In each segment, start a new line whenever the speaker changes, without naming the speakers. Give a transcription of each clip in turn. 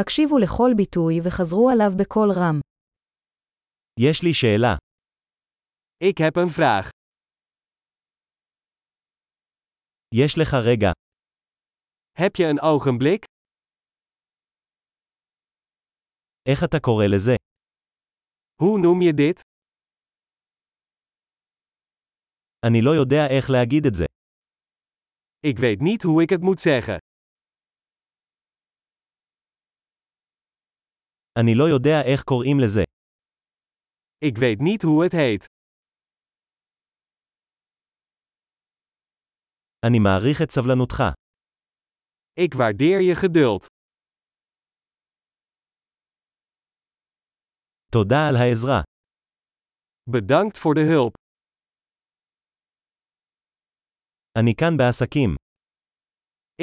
הקשיבו לכל ביטוי וחזרו עליו בקול רם.
יש לי שאלה.
Ik heb een vraag.
יש לך רגע.
Heb je een ogenblik?
איך אתה קורא לזה?
Hoe noem je dit?
אני לא יודע איך להגיד את זה.
Ik weet niet hoe ik het moet zeggen.
אני לא יודע איך קוראים לזה.
Ik weet niet hoe het heet.
אני מעריך את סבלנותך.
Ik waardeer je geduld.
תודה על העזרה.
Bedankt voor de hulp.
אני כאן בעסקים.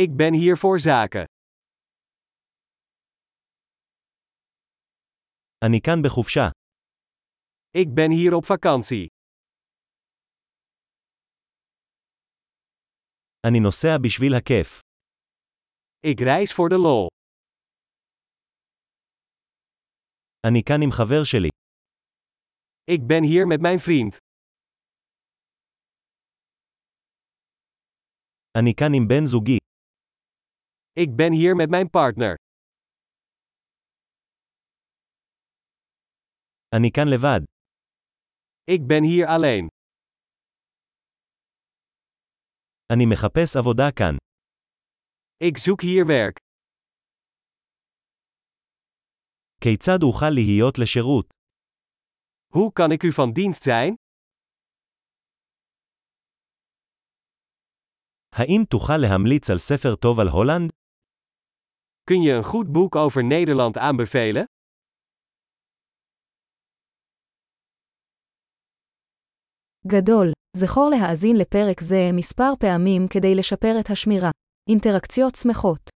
Ik ben hier voor zaken.
אני כאן בחופשה.
Ik ben hier op vakantie.
אני נוסע בשביל הכיף.
Ik reis voor de lol.
אני כאן עם חבר שלי.
Ik ben hier met mijn vriend.
אני כאן עם בן זוגי.
Ik ben hier met mijn partner.
אני כאן לבד.
Ik ben hier alleen.
אני מחפש עבודה כאן.
Ik zoek hier werk.
כיצד אוכל להיות לשירות?
Hoe kan ik u van dienst zijn?
האם תוכל להמליץ על ספר טוב על הולנד?
Kun je een goed boek over Nederland aanbevelen?
גדול. זכור להאזין לפרק זה מספר פעמים כדי לשפר את השמירה. אינטראקציות שמחות